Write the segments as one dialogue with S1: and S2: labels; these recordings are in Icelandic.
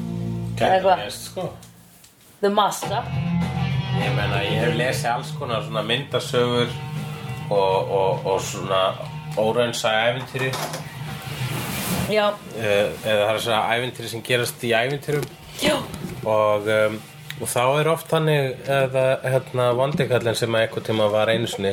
S1: Eða
S2: Kennir
S1: eitthvað.
S2: mest, sko.
S1: The Master
S2: Ég meina, ég hef lesið alls konar svona myndasögur og, og, og svona óraunsa ævintýri
S1: Já,
S2: eh, eða það er svona ævintýri sem gerast í ævintýrum
S1: já,
S2: og, um, og þá er oft þannig eða hérna vandikallin sem að eitthvað tíma var einu sinni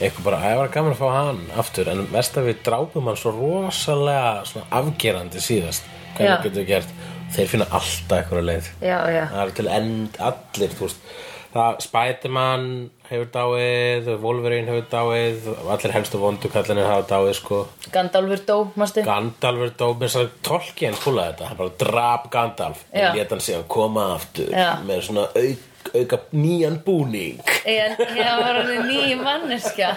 S2: eitthvað bara, að ég var gaman að fá hann aftur en verst að við drápum hann svo rosalega svona afgerandi síðast hvað
S1: Já.
S2: við getum gert þeir finna alltaf eitthvað leið
S1: já, já
S2: það eru til end allir þú veist það Spiderman hefur dáið Wolverine hefur dáið allir helstu vondukallinir hafa dáið sko
S1: Gandalfur dó, mástu
S2: Gandalf er dóp eins og Tolkien fúlaði þetta, hann bara drap Gandalf
S1: Já.
S2: en lét hann sig að koma aftur
S1: Já.
S2: með svona auk, auka nýjan búning
S1: En það var alveg ný manneskja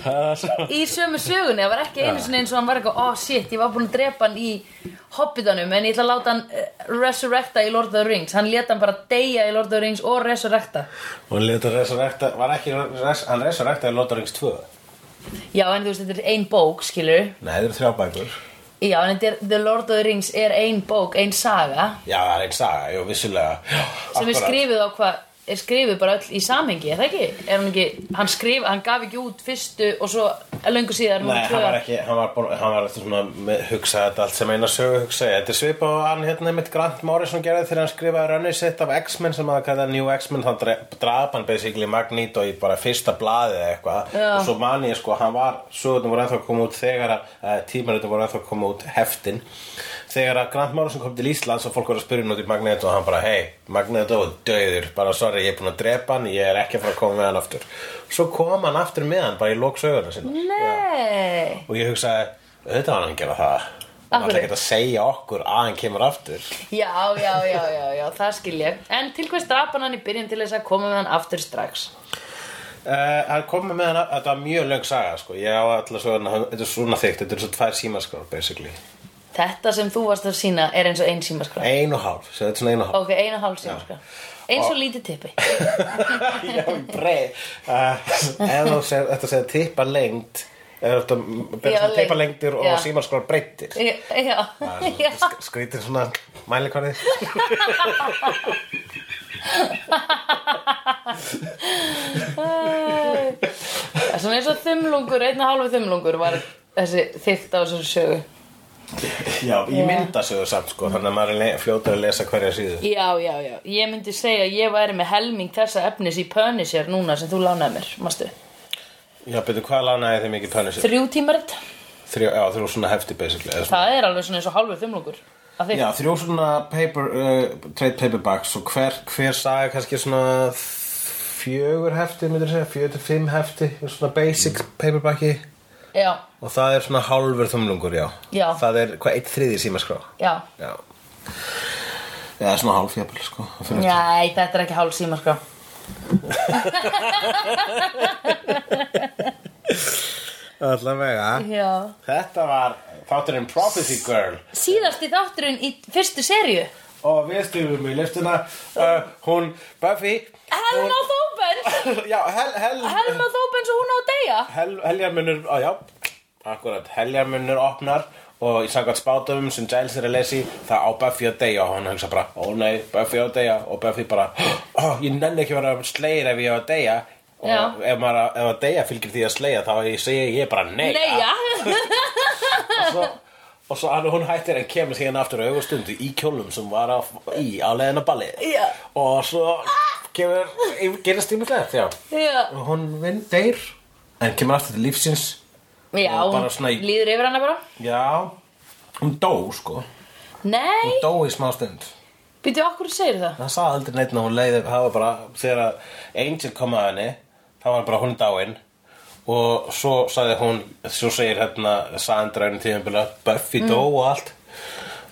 S2: það er svo
S1: Í sömu sögunni, það var ekki einu sinni eins og hann var eitthvað Oh shit, ég var búin að drepa hann í Hobbitanum En ég ætla að láta hann eh, resurrecta í Lord of the Rings Hann lét hann bara deyja í Lord of the Rings og resurrecta
S2: og hann leta resurrekta, var ekki res, hann resurrekta í Lotharings 2
S1: Já, en þú veist, þetta er ein bók, skilur
S2: nei, það eru þrjá bækur
S1: Já, en þetta er, The Lord of the Rings er ein bók, ein saga
S2: já, það er einn saga, jú, vissulega já,
S1: sem er
S2: akkurat.
S1: skrifið á hvað er skrifið bara öll í samhengi, er það ekki? Er hann ekki, hann skrif, hann gaf ekki út fyrstu og svo löngu síðar
S2: Nei,
S1: númer tvö
S2: hann
S1: ár.
S2: var ekki, hann var, búinn- hann var eftir svona með, hugsaði þetta allt sem eina sögu hugsaði Þetta er svipað og hann hérna mitt Grant Morrison gerði þegar hann skrifaði rönnið sitt af X-Men sem að kalla New X-Men þá dre- drap hann basically Magneto í bara fyrsta blaði eða eitthvað
S1: Já.
S2: og svo man ég sko, hann var, sögurnum voru ennþá að koma út þegar að, uh, tímaritum voru ennþá að koma út heftin þegar að Grant Morrison kom til Íslands og fólk voru að spyrja um hann út í Magneto og hann bara, hei, Magneto er döður bara sorry, ég er búinn að drepa hann, ég er ekki að fara að koma með hann aftur svo kom hann aftur með hann bara í lók sögurna sinna
S1: Nei,
S2: og ég hugsaði, auðvitað var hann að gera það
S1: Af
S2: hann ætla
S1: hverju?
S2: ekki að segja okkur að hann kemur aftur
S1: já, já, já, já, já, það skil ég. En til hvers draf hann hann í byrjun til þess að koma með hann aftur strax?
S2: uh, hann kom með hann, þetta var mjög löng saga sko. ég á alltaf svona, þetta er svona þykkt þetta er svo tvær símaskráð basically
S1: Þetta sem þú varst að sína er eins og ein símaskrá.
S2: ein og hálf, svo þetta er svona ein og hálf
S1: Ok, ein og hálf símaskrá. Eins og lítið tippi.
S2: já, ég breið uh, ef þú segir, þetta segir tippa lengt eða þetta
S1: Já,
S2: ber tippa
S1: lengd.
S2: lengdir
S1: Já.
S2: og símaskráð breyttir
S1: Já, já, já.
S2: skrítir svona mælikvarði
S1: Það er svona eins og þumlungur, einn og hálfu þumlungur var þessi þykkt á þessari sögu.
S2: já, ég mynda sögur samt sko, þannig að maður er le- fljótur að lesa hverja síðu
S1: Já, já, já. Ég myndi segja að ég væri með helming þessa efnis í Punisher núna sem þú lánaði mér, mástu.
S2: já, betur hvað lánaði þið mikið pönnisir?
S1: Þrjú tímarit,
S2: Þrjá, já, þrjá svona hefti basically eða svona.
S1: það er alveg svona eins og hálfur þumlungur. Að þig,
S2: Já, þrjá svona paper, uh, trade paperbacks og hver, hver saga kannski svona fjögur hefti, myndir segja, fjögur til fimm hefti svona basic paperbacki
S1: já,
S2: og það er svona hálfur þumlungur, já
S1: Já.
S2: Það er hvað eitt þriði símaskrá
S1: já.
S2: Já Já, svona hálf jafnvel, sko það fyrir-
S1: Nei, þetta er ekki hálf síma, sko.
S2: Allavega
S1: Já.
S2: Þetta var þátturinn Prophecy Girl
S1: Síðasti þátturinn í fyrstu seríu.
S2: og við styrjum í liftuna uh, hún Buffy
S1: Helma Þóbens,
S2: Já, hel, hel,
S1: Helma Þóbens og hún á að deyja.
S2: Hel, heljarmunur, á já, akkurat, heljarmunur opnar og í samkvæmt spátumum sem Giles er að lesi það á Buffy að deyja og hann hugsa bara, ó nei, Buffy á að deyja og Buffy bara, ó, ég nenni ekki að vera slegir ef ég á að deyja og
S1: Já.
S2: ef maður að- ef að deyja fylgir því að slegja þá ég segi ég bara nei
S1: Deyja.
S2: og svo, og svo hann, hún hættir en kemur síðan aftur á augustundu í kjólum sem var á, í á leiðin á ballið
S1: Já.
S2: og svo kemur, gerist tímuslegt, já
S1: Já,
S2: og hún vinn deyr en kemur aftur til lífsins
S1: já
S2: Og bara
S1: hún
S2: svona í-
S1: líður yfir hana bara.
S2: já, hún dó sko hún
S1: Nei,
S2: dó í smá stund
S1: býttu okkur segir það.
S2: það sagði aldrei neitt um að hún leiði það var bara þegar að Angel kom að henni þá var bara hún dáin og svo sagði hún svo segir hérna Sandra einu tíðanbila Buffy dó og allt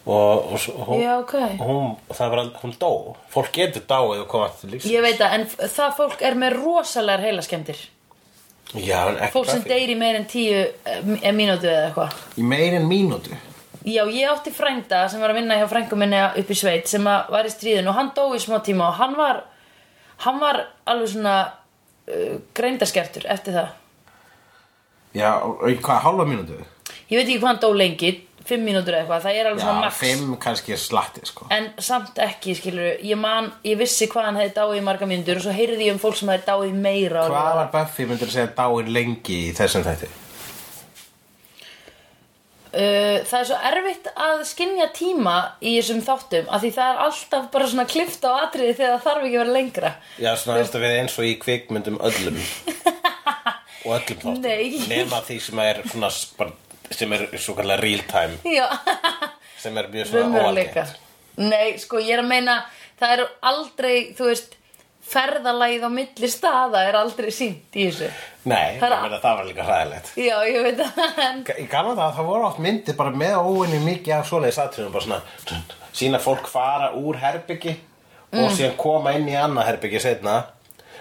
S2: og, og svo- hún,
S1: Mm. Já, ok.
S2: hún, það var, al- hún dó fólk getur dáið og koma aftur til lífsins
S1: Ég veit það, en f- það fólk er með rosalegar heilaskemdir.
S2: já, en ekki
S1: Fólk sem
S2: Buffy.
S1: deyri meir en tíu eh, mínútu eða eitthvað
S2: í meirin mínútu
S1: Já, ég átti frænda sem var að vinna hjá frængu minni upp í sveit sem að var í stríðinu og hann dó í smá tíma og hann var hann var alveg svona uh, greindaskeftur eftir það
S2: já, og- og í hvað, hálfa mínútu
S1: Ég veit ekki hvað hann dó lengi fimm mínútur eða eitthvað, það er alveg
S2: Já,
S1: svona max
S2: fimm kannski er slatti sko.
S1: en samt ekki, skilur ég man, ég vissi hvað hann hefði dáið í marga mínútur og svo heyrði ég um fólk sem hefði dáið meira og-
S2: Hvað var Buffy myndir að segja dáin lengi í þessum þætti?
S1: Uh, það er svo erfitt að skinja tíma í þessum þáttum af því það er alltaf bara svona klift á atriði þegar það þarf ekki að vera lengra
S2: Já, svona hefði þetta verið eins og í kvikmyndum öllum og öllum þáttum
S1: Nei.
S2: nema því sem er svona s- bara, sem er svo kallar real time
S1: Já,
S2: sem er mjög svona
S1: raunveruleika
S2: óalgengt
S1: Nei, sko, ég er að meina það er aldrei, þú veist ferðalagið á milli staða er aldrei sínt í þessu
S2: Nei,
S1: Það er
S2: það, meina, það var líka hræðilegt
S1: Já, ég veit það en
S2: Í gaman það, það voru átt myndir bara með óinni mikið af svoleiðis atriðum bara svona, sína fólk fara úr herbyggi og síðan koma inn í annað herbyggi setna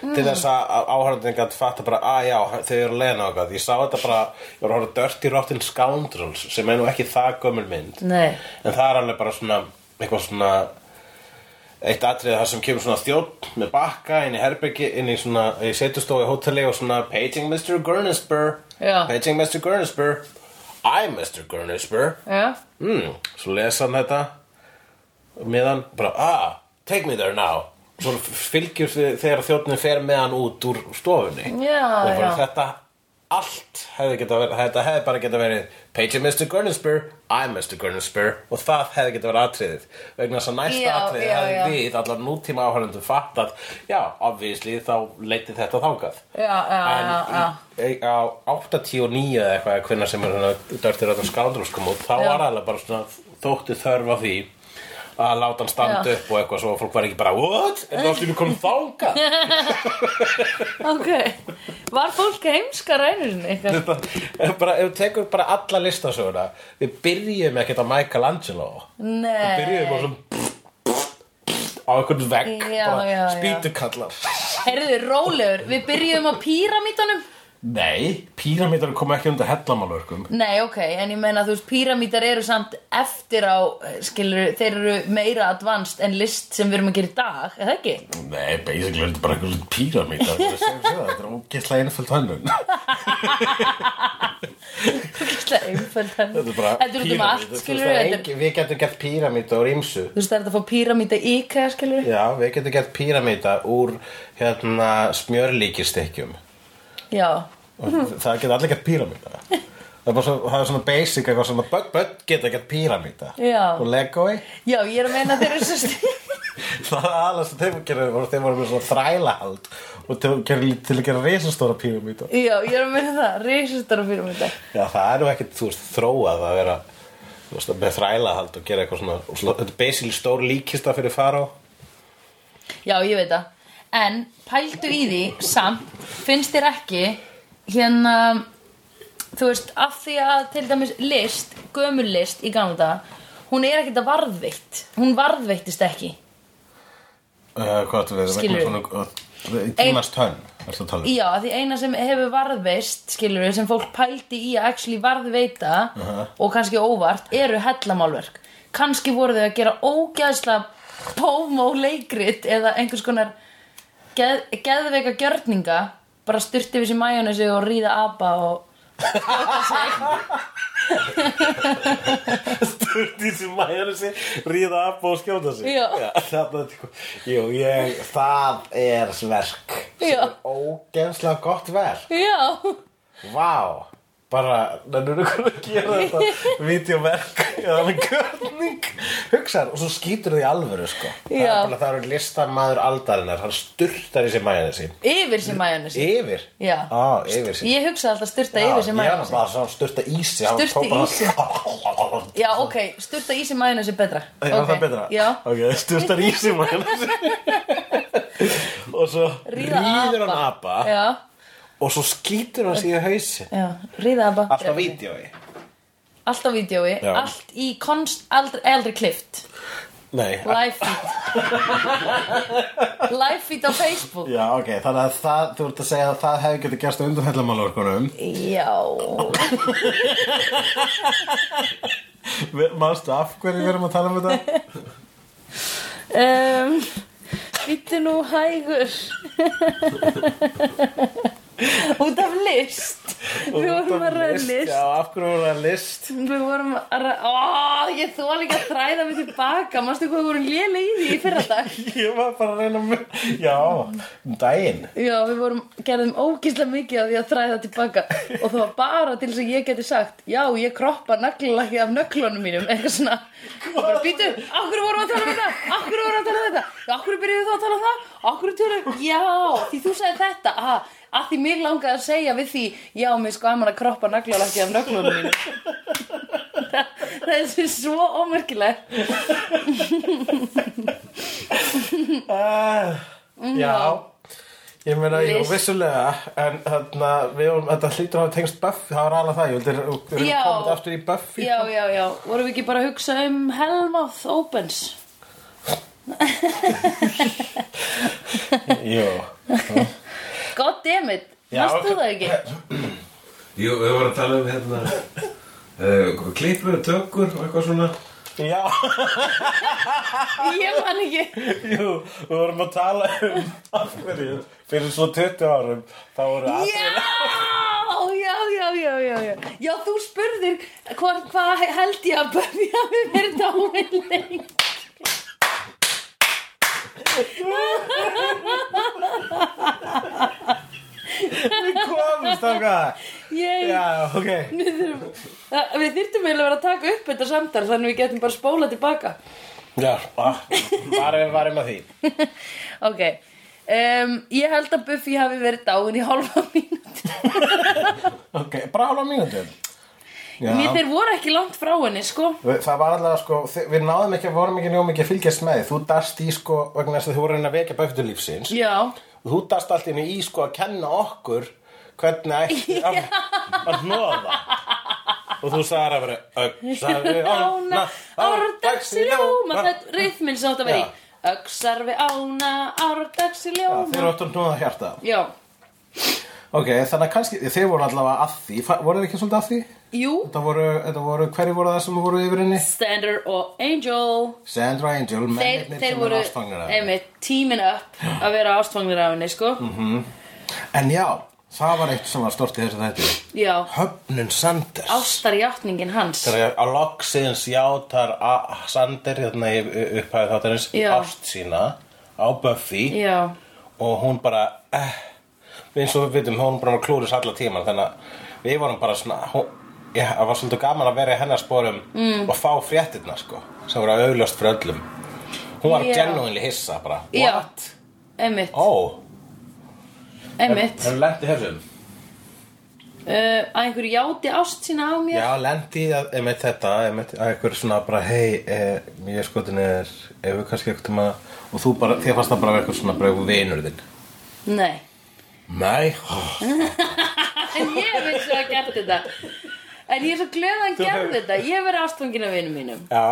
S2: til þess að áhörðin gæti fatta bara að já, þau eru leina og gæti ég sá þetta bara, ég var að horfa Dirty Rotten Scoundrels sem er nú ekki það gömul mynd
S1: Nei,
S2: en það er alveg bara svona eitthvað svona eitt atrið þar sem kemur svona þjótt með bakka inn í herbyggi, inn í svona í setustofu í hóteli og svona paging Mr. Gurnisbur
S1: Já.
S2: paging Mr. Gurnisbur I'm Mr. Gurnisbur
S1: já,
S2: mm, svo lesa hann þetta og meðan bara ah, take me there now svo fylgjur þi- þegar þjóttin fer með hann út úr stofunni
S1: Já,
S2: og bara
S1: já.
S2: þetta allt hefði geta verið, þetta hefði bara geta verið Paige and Mr. Gurnisbur, I'm Mr. Gurnisbur og það hefði geta verið atriðið vegna þess að næsta
S1: Já,
S2: atriðið
S1: já,
S2: hefði
S1: já.
S2: við allar nútíma áhörlundum fattað já, obviously þá leiti þetta þangað
S1: já, já, já, já.
S2: en í- á 89 eða eitthvað hvernig sem er hann dörtir að það skándrús kom út þá
S1: Já.
S2: var alveg bara svona þótti þörf á því að láta hann standa
S1: Já.
S2: upp og eitthvað svo að fólk var ekki bara what? er það allt í nú komið þangað?
S1: Ok, var fólk heimska rænurinn eitthvað?
S2: Þetta er bara, ef þú tekur bara alla listasöguna við byrjum ekkert á Michelangelo
S1: Nei
S2: við byrjum á svona á einhvern vegg
S1: Já, já,
S2: bara
S1: já.
S2: spýtukallar
S1: Heyrðu, rólegur, við byrjum á píramítunum
S2: nei, píramítar koma ekki undir hellamálverkum
S1: Nei, ok, en ég meina þú veist, píramítar eru samt eftir á, skilur, þeir eru meira advanced en list sem við erum að gera í dag, er það ekki?
S2: nei, basically er þetta bara einhvern píramítar þetta er ógeðslega einföld hönnun
S1: Ógeðslega einföld en-
S2: þetta er bara
S1: Þetta er út um allt,
S2: píramítar. Þú
S1: skilur
S2: veist, það er
S1: þetta er-
S2: engin- við getum gert píramíta úr ímsu
S1: Þú veist, það er þetta að fá píramíta íka, skilur
S2: já, við getum gert píramíta úr hérna, smjörlíkistekkjum
S1: Já, Mhm.
S2: og það geta allir gett píramíta það er bara svo, það er svona basic eitthvað svona börn, börn geta gett píramíta
S1: Já.
S2: og legoi
S1: já, ég er að meina þeir eru svo stíð
S2: það er alveg sem þeim gerir voru þeim voru með svona þrælahald og til, gerir, til að gera risastóra píramíta
S1: Já, ég er að meina það, risastar píramíta
S2: já það er nú ekkert þú veist þróað að vera þú veist, með þrælahald og gera eitthvað svona, og svona þetta er basically stór líkista fyrir faró
S1: Já, ég veit það En pældu í því samt finnst þér ekki hérna þú veist, af því að til dæmis list, gömul list í gamla daga hún er ekkert að varðveitt hún varðveittist ekki
S2: uh, hvað þetta verður
S1: Skilurðu?
S2: svona, uh, tímast tönn ertu að tala um?
S1: Já, af því eina sem hefur varðveist skilur sem fólk pældi í að actually varðveita og kannski óvart eru hellamálverk kannski voru þau að gera ógæðsla pómó leikrit eða einhvers konar geð, geðveika gjörninga bara styrti við sér majónesi og ríða apa og
S2: Sturdi sem mæður sig ríða af og skjóta sig
S1: Já.
S2: það, Jú, ég, það er verk sem
S1: Já.
S2: er ógeðslega gott verk
S1: Já,
S2: Vá bara, nennur ykkur að gera þetta vídeoverk eða hann görning hugsaðar og svo skýtur þau í alvöru sko það er
S1: Já.
S2: bara það eru listamaður aldarinnar hann sturtar í sig mæður sín
S1: yfir sér majónesi
S2: yfir,
S1: Já.
S2: Á, yfir sín
S1: Ég hugsaði alltaf styrta
S2: Já,
S1: yfir sér
S2: ég er
S1: majónesi
S2: náttúrulega að hann sturta í sig hann
S1: Sturti
S2: tók bara-
S1: í Já, ok, styrta í sér majónesi er betra
S2: Já, það
S1: Ok,
S2: er betra
S1: Já,
S2: Ok, það stjórnstar í sig mann Og svo
S1: Ríða apa.
S2: ríður hann apa
S1: já,
S2: Og svo skýtur hann sig í hausin
S1: já, ríða apa
S2: Alltaf vídjói
S1: Allt á vídjói,
S2: Já.
S1: allt í konst, aldrei, aldrei klift
S2: Nei,
S1: Live feed Live feed á Facebook
S2: já ok Þannig að það, þú ert að segja að það hefði getið gerst undan hellamálvorkunum
S1: Já
S2: Manstu af hverju við erum að tala um þetta?
S1: um, Vítu nú hægur Út af list Við vorum að ræða list.
S2: Já, af hverju vorum við að ræða list?
S1: Við vorum að ræða, ó, ég þóla ekki að þræða mig tilbaka, mannstu hvað við vorum lélega í því í fyrra dag.
S2: Ég var bara að reyna með, já, um daginn.
S1: Já, við vorum, gerðum ógíslega mikið af því að þræða tilbaka og það var bara til þess að ég geti sagt já, ég kroppa naglilaki af nöglunum mínum eitthvað svona, bara býtu okkur vorum við að tala um þetta, okkur vorum við að tala um þetta okkur byrjuðu þá að tala um það, okkur tölum já, því þú sagði þetta aha, að því mér langaði að segja við því já, mér sko gaman að kroppa naglilaki af nöglunum mínum það, það er svo- svo ómerkilegt
S2: Uh, já, ég meina, jú,
S1: Mm-hmm. List.
S2: vissulega, en þarna, við vorum, þetta hlýtur að hafa tengst Buffy, það var alveg það, ég vildi, við
S1: Já.
S2: erum komin aftur í Buffy.
S1: já, já, já, vorum við ekki bara að hugsa um Hellmouth Opens
S2: Jú.
S1: God damn it,
S2: Já,
S1: varst þú
S2: ok.
S1: það ekki?
S3: Jú, við vorum að tala um hérna uh, klippur, tökur og eitthvað svona
S2: Já,
S1: Ég man ekki
S2: jú, við vorum að tala um af hverju, fyrir svo 20 árum, þá voru allir,
S1: Já, já, já, já, já, já Já, þú spurðir hvað hva held ég að Buffy hafi verið dáin lengi
S2: við komumst af hvað.
S1: Ég,
S2: Já, ok.
S1: við þurfum það- Við þyrftum eiginlega að vera að taka upp þetta samtal þannig við getum bara spóla tilbaka
S2: Já, ah, varum, varum að því.
S1: Ok um, Ég held að Buffy hafi verið dáin í hálfa mínúti
S2: Ok, bara hálfa mínútum. Já.
S1: Mér þeir voru ekki langt frá henni, sko
S2: Við- Það var allavega sko, þi- við náðum ekki, vorum ekki njóðum ekki að fylgjast með því. Þú darst í sko, vegna þess að þú voru að reyna að vekja bæktu lífsins.
S1: Já,
S2: Og þú darst allt inni í sko að kenna okkur hvernig ætti að, að hnoða. Og þú sagði að vera ögsa við
S1: ána, árdags í ljóma
S2: Já,
S1: Þetta reyðminn sem þetta verið Öxar við ána, árdags í
S2: Þeir
S1: ljóma
S2: áttu að hnoða hjarta.
S1: Já,
S2: Ok, þannig að kannski, þeir voru allavega að því, Fa- voru þið ekki svolítið að því?
S1: jú
S2: Þetta voru, þetta voru, hverju voru það sem voru yfir henni?
S1: Standard og Angel
S2: Sandra Angel,
S1: Þeir,
S2: mennirnir
S1: þeir
S2: sem
S1: voru
S2: voru ástfangnir af henni.
S1: einmitt, tímin upp að vera ástfangnir af henni sko.
S2: Mhm. En já, það var eitt sem var stort í þessu þætti
S1: Já,
S2: Höfnun Sanders
S1: ástarjátningin hans
S2: Þegar að loksins játar a- Sander hérna í upphæðu þáttarins
S1: Já.
S2: ást sína á Buffy
S1: Já,
S2: og hún bara eh, eins og við vitum, hún bara var klúris allar tíman þannig að við vorum bara svona hún, já, það var svolítið gaman að vera í hennar sporum mm. og fá fréttirna sko sem voru augljóst fyrir öllum hún var
S1: Já.
S2: genúinlega hissa bara
S1: já
S2: What?
S1: Einmitt,
S2: Ó, oh,
S1: einmitt
S2: hún lendi þessum
S1: uh, Að einhver játi ást sína á mér
S2: Já, lendi að, einmitt þetta, einmitt að einhver svona bara, hei, eh, ég er skotin er, ef við kannski eitthvað maður, og þú bara, þér fannst það bara eitthvað svona bara eitthvað vinur þinn.
S1: Nei
S2: Nei, oh,
S1: En ég vissi að hafa gert þetta En ég er svo glöð að hann gerði þetta Ég hef verið ástfangin af vinum mínum
S2: já,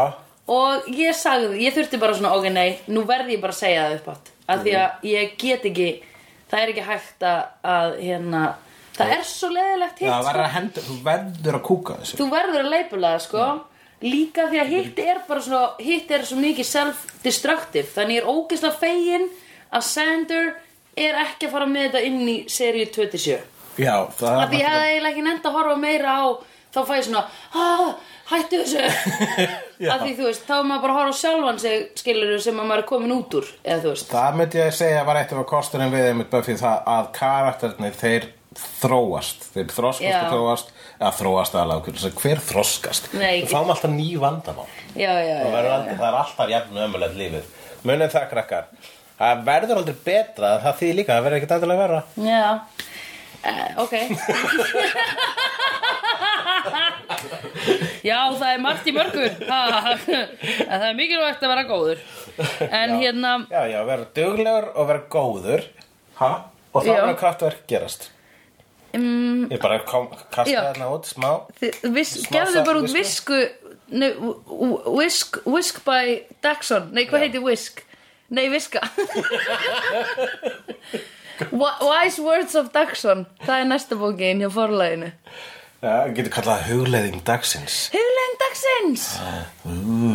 S1: Og ég sagði, ég þurfti bara svona, ok, nei, nú verði ég bara að segja það upp átt. Af
S2: Mm.
S1: því að ég get ekki, það er ekki hægt að, að hérna, það er svo leiðilegt
S2: já,
S1: hitt,
S2: það
S1: sko.
S2: verður að hendur, þú verður að kúka þessu.
S1: Þú verður að leipula það, sko.
S2: Mm.
S1: Líka því að hitt er bara svona, hitt er svo mikið self-destructive. Þannig ég er ógeðslega fegin að Sander er ekki að fara með þetta inn í seríu 27.
S2: Já, það
S1: Af því ég hefði eiginlega ekki nefnd að horfa meira á, þá fæ ég svona, ah, hættu þessu.
S2: já,
S1: að því þú veist, þá er maður bara að horfa á sjálfan sig skilur sem að maður er komin út úr eða þú veist,
S2: það myndi ég að segja var eitt af að kosturinn við einmitt Buffy það að karakterinir, þeir þróast, þeir þroskast
S1: Já.
S2: og þróast, eða þróast alveg, okkur, þess að hver þroskast?
S1: Nei.
S2: Við fáum alltaf ný vandamál.
S1: já, já,
S2: Það,
S1: já,
S2: verður aldrei, það er alltaf jafn ömulegt lífið Munið það krakkar Það verður aldrei betra en það þýðir líka Það verður ekkert aldrei verra
S1: já. Uh, ok já, það er margt í mörgu Ha, ha, ha. en það er mikilvægt að vera góður en hérna
S2: Já, já, verður duglegur og verður góður ha? Og þá
S1: Já.
S2: verður kraftverk gerast
S1: um,
S2: Ég bara kom, kasta
S1: Já.
S2: þarna út smá
S1: þið- vis-
S2: Smá
S1: gerðu bara út
S2: visku.
S1: visku Nei, w- w- whisk, whisk by Daxon nei, hvað heitir whisk? nei, viska Wi- Wise words of Daxon það er næsta bókin hjá forlæginu
S2: Já, getur kallað það hugleiðing dagsins
S1: huglegin dagsins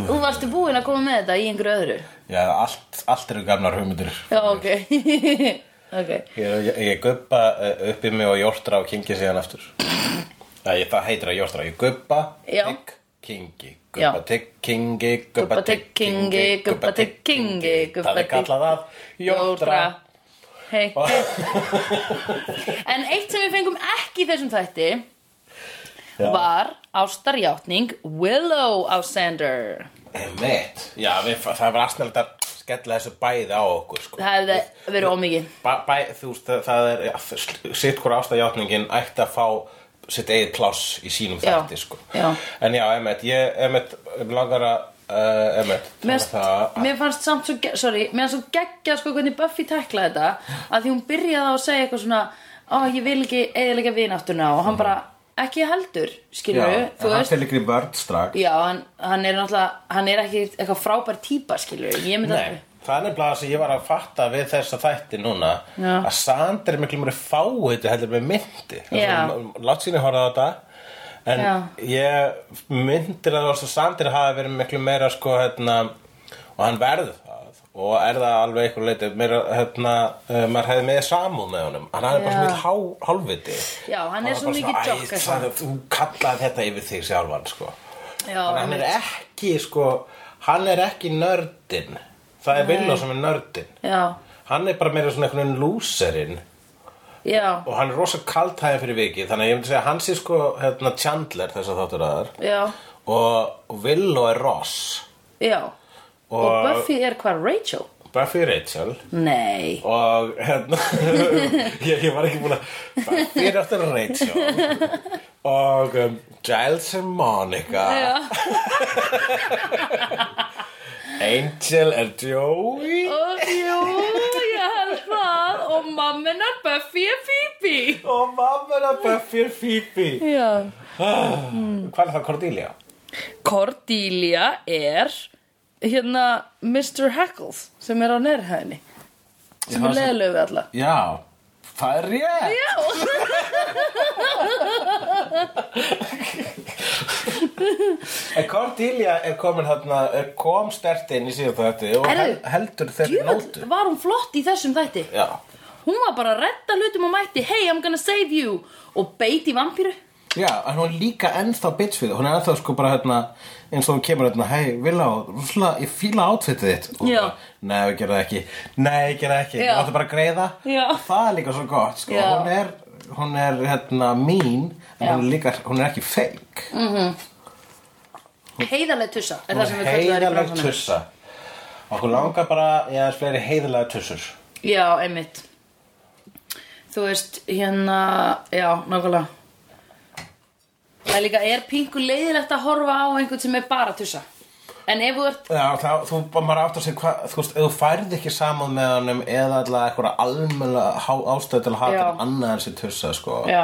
S1: þú varstu búinn að koma með þetta í einhverju öðru
S2: Já, allt, allt eru gamnar hugmyndir
S1: já, ok ok
S2: Ég, ég, ég guppa eh, upp í mig og jórtra og kingi síðan aftur Æ, ég, Það heitir að jórtra Ég guppa,
S1: Já.
S2: tygg, kingi
S1: Já.
S2: Guppa, tygg, kingi
S1: Gubba, tygg, kingi, gubba, tygg, kingi, gubba,
S2: Það er
S1: tygg-
S2: kallað að jórtra
S1: Jódra Hei, hei En eitt sem við fengum ekki í þessum þætti
S2: Já.
S1: Var ástarjátning Willow á Sander
S2: Emmett Já, við, það var aðsnælt að skella þessu bæði á okkur sko.
S1: Það hefði verið ómikið
S2: bæ, bæ, Þú veist, það, það er ja, sitt hvora ástæðjátningin ætti að fá sitt eigið pláss í sínum
S1: Já.
S2: þætti sko.
S1: Já.
S2: En já, Emmett, ég, Emmett, mig langar að uh, Emmett,
S1: Mér,
S2: tala það að-
S1: mér fannst samt svo, ge- sorry, mér fannst svo geggja sko hvernig Buffy teklaði þetta að því hún byrjaði á að segja eitthvað svona ó, ég vil ekki eðilega vináttuna og hann bara, ekki heldur, skilur
S2: Já,
S1: þú
S2: en hann
S1: veist
S2: fyrir ykkur í vörd strax
S1: Já, hann, hann er náttúrulega, hann er ekki eitthvað frábær típa, skilur ég myndi
S2: Nei, það er nefnilega það sem ég var að fatta við þessa þætti núna
S1: Já.
S2: að Sander er miklu mjög fáið heldur með myndi um,
S1: Já.
S2: Látt síni horfði á þetta en
S1: Já.
S2: ég myndir að það var svo Sander hafi verið miklu meira sko hérna og hann verður það og er það alveg einhver leiti meira hérna, uh, maður hefði með samúð með honum hann hafði bara
S1: Já.
S2: svo mikil há, hálfviti
S1: Já, hann er
S2: var
S1: svo sko."
S2: bara
S1: mikið
S2: svona,
S1: jokk,
S2: "Æ,
S1: eitthvað."
S2: Sander, þú kallaði þetta yfir þig sjálfan sko
S1: Já,
S2: En hann er ekki sko hann er ekki nördin það er Villó sem er nördin
S1: Já,
S2: hann er bara meira svona einhvern veginn lúserinn
S1: já,
S2: og hann er rosa kaltæði fyrir vikið þannig að ég myndi segja að hann sé sko hérna, Chandler þess að þáttur aðar
S1: já,
S2: og Villó er Ross
S1: já Og,
S2: Og-
S1: Buffy er hvað, Rachel?
S2: Buffy er Rachel
S1: Nei
S2: og hérna ég, ég var ekki búin að Buffy er eftir Rachel og um, Giles er Monica Angel er Joey
S1: Og jú, ég held það Og mamminar Buffy er Phoebe
S2: Og mamma er að Buffy er Phoebe
S1: Já
S2: Hvað er það Cordelia?
S1: Cordelia er Hérna Mr. Heckles Sem er á nærhæðinni Sem er
S2: það sem-
S1: leðilegu við alla
S2: Já, það er rétt Já En Cordelia er komin hérna er kom stert inn í síðan þetta og hel,
S1: Herru,
S2: heldur þeirri
S1: Jöfn,
S2: nótu
S1: var hún flott í þessum þætti
S2: Já,
S1: Hún var bara að redda hlutum og mætti Hey, I'm gonna save you Og beit í vampíru
S2: já, en hún er líka ennþá bitch við það. hún er ennþá sko bara hérna eins og hún kemur hérna, hei, Vila ég fíla átfitið þitt Og hún
S1: Já.
S2: bara, Nei, ég gerði það ekki, nei, ég gerði það ekki
S1: Já.
S2: Þú áttu bara að greiða
S1: Já.
S2: Það er líka svo gott, sko
S1: Já.
S2: Hún er, hún er hérna mín En
S1: Já.
S2: hún er líka, hún er ekki fake mm,
S1: Heiðarlega tussa Er það sem við kallum það í
S2: Heiðaleg
S1: bransanum
S2: tussa Okkur langar bara, ég er fleiri heiðalega tussur
S1: Já, einmitt Þú veist, hérna Já, nákvæmlega Það er líka, er pingu leiðilegt að horfa á einhvern sem er bara að tussa En ef þú ert
S2: Já, þá, þú bara maður átt að segja hvað, þú veist, ef þú færð ekki saman með honum eða alltaf einhverja almennilega ástöð til að hata
S1: Já.
S2: hann annað en sér tussa, sko.
S1: Já.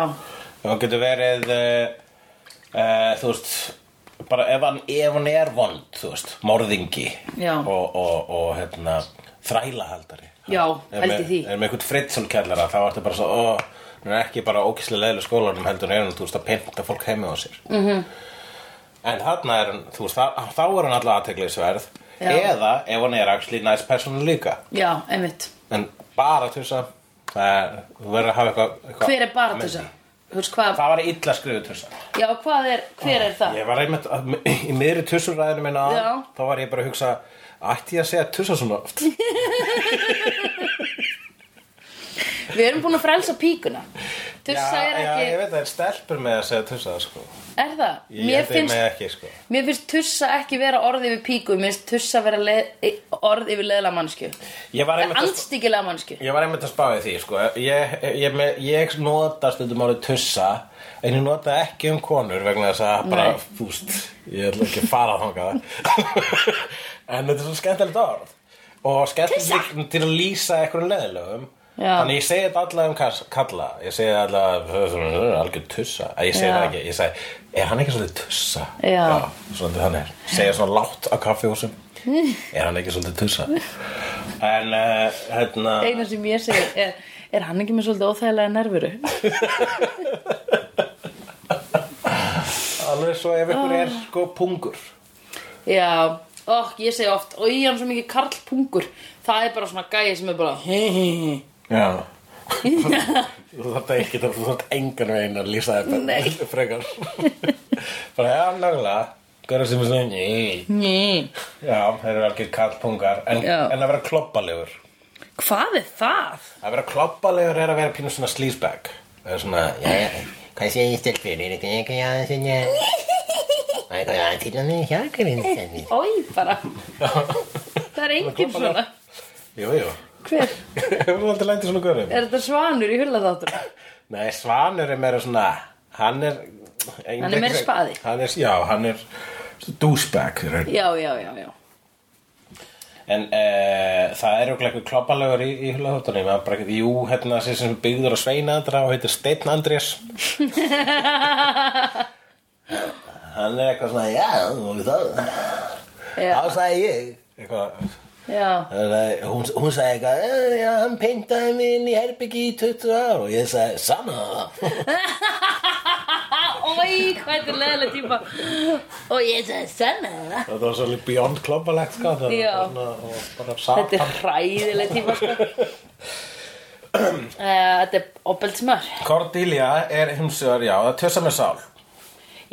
S2: Ef hann getur verið, uh, uh, þú veist, bara ef hann, ef hann er vond, þú veist, morðingi
S1: Já.
S2: og, og, og, hérna, þrælahaldari.
S1: Já,
S2: Ef
S1: held
S2: með-
S1: í því.
S2: Ef með einhvern Fritzson kjallara, þá ertu bara svo, ó, hann er ekki bara ókislega leiðileg í skólanum heldur en er hann, þú veist, að pynta fólk heima á sér.
S1: Mhm.
S2: En þarna er hann, þú veist, þá, þá er hann alltaf aðteglisverð
S1: Já.
S2: Eða ef hann er actually nice person líka
S1: Já, einmitt
S2: En bara til þess að það er, þú verður að hafa eitthvað eitthva
S1: Hver er bara að tussa? Þú veist hvað
S2: Það var illa skrifuð til þess að
S1: Já, hvað er, hver er það?
S2: Ég var einmitt, að- í miðri tussurræðinu minna
S1: Já.
S2: Þá var ég bara að hugsa, ætti ég að segja tussa svona oft?
S1: Við erum búin að frelsa píkuna Tussa er
S2: Já, ég
S1: ekki,
S2: veit að það er stelpur með að segja tussa sko
S1: er það?
S2: Ég
S1: Mér
S2: held ég
S1: finnst,
S2: með ekki sko
S1: mér finnst tussa ekki vera orð yfir píku Mér finnst tussa vera leið, orð yfir leiðilega mannskju
S2: Ég var einmitt að
S1: Andstikilega mannskju
S2: Ég var einmitt að spá í því, sko. Ég, ég, ég, ég nota stundum árið tussa, en ég nota ekki um konur vegna þess að bara,
S1: Nei.
S2: fúst, ég ætla ekki að fara þangað. en þetta er svo skemmtilegt orð. Og skemmtilegt líka til að lýsa einhverjum leðilegum.
S1: Já.
S2: Þannig ég segi þetta allavega um kas- kalla. Ég segi allavega, algjör tussa. Æ, Ég segi
S1: Já.
S2: það ekki. Ég segi, er hann ekki svolítið tussa?
S1: Já.
S2: Svolítið hann er. Segja svona látt á kaffihúsum. er hann ekki svolítið tussa? En, uh, hérna...
S1: eina sem ég segi er, er hann ekki með svolítið óþægilega nervuru?
S2: Alveg svo ef ykkur
S1: Ah.
S2: er sko pungur
S1: Já, og ég segi oft, og ég hann svo mikið karlpungur, það er bara svona gæi sem er bara hei, hei, hei,
S2: Já Þú þarft ekki, þú þarft engan veginn að lýsa þetta
S1: Nei.
S2: Frekar Bara, já, nálega Góra sem er svona, ný
S1: Ný.
S2: Já, þeir eru algjör kallpungar En,
S1: Já.
S2: en að vera kloppalegur
S1: Hvað er það?
S2: Að vera kloppalegur er að vera pínu svona sleazebag Það er svona, já, já
S4: Hvað sé ég stelpur? Er þetta eitthvað ég aðeins en ég... Það er eitthvað til og með hjákurinn sem ég...
S1: Ói, bara. Það er enginn svona.
S2: Jú, jú
S1: Hver?
S2: Hefur aldrei lendið svona görum?
S1: Er þetta svanur í hullaðáttur?
S2: Nei, Svanur er meira svona Hann er
S1: Hann er meira spaði.
S2: Hann er, já, hann er douchebag er hann.
S1: Já, já, já, já.
S2: En e, það er okkur eitthvað kloppalegur í, í hulahóttunum Jú, hérna þessi sem byggður á sveinandra og heitir Steinn Andrés Hann er eitthvað svona, já, og það
S1: Já.
S2: Þá sagði ég eitthvað,
S1: Já.
S2: eh, hún, hún sagði eitthvað eh, Já, hann peintaði mig inn í herbyggi í 20 ár og ég sagði, sama
S1: Ói, hvað þetta er leðilega tíma. Og ég sagði senna.
S2: Þetta var svolítið beyond kloppalegt sko Það var
S1: Já.
S2: bara svona- og bara
S1: Þetta
S2: satan
S1: er hræðilega tíma, sko. Eh, Þetta er opeldsmör.
S2: Cordelia er hins vegar, já, það tjösa með sál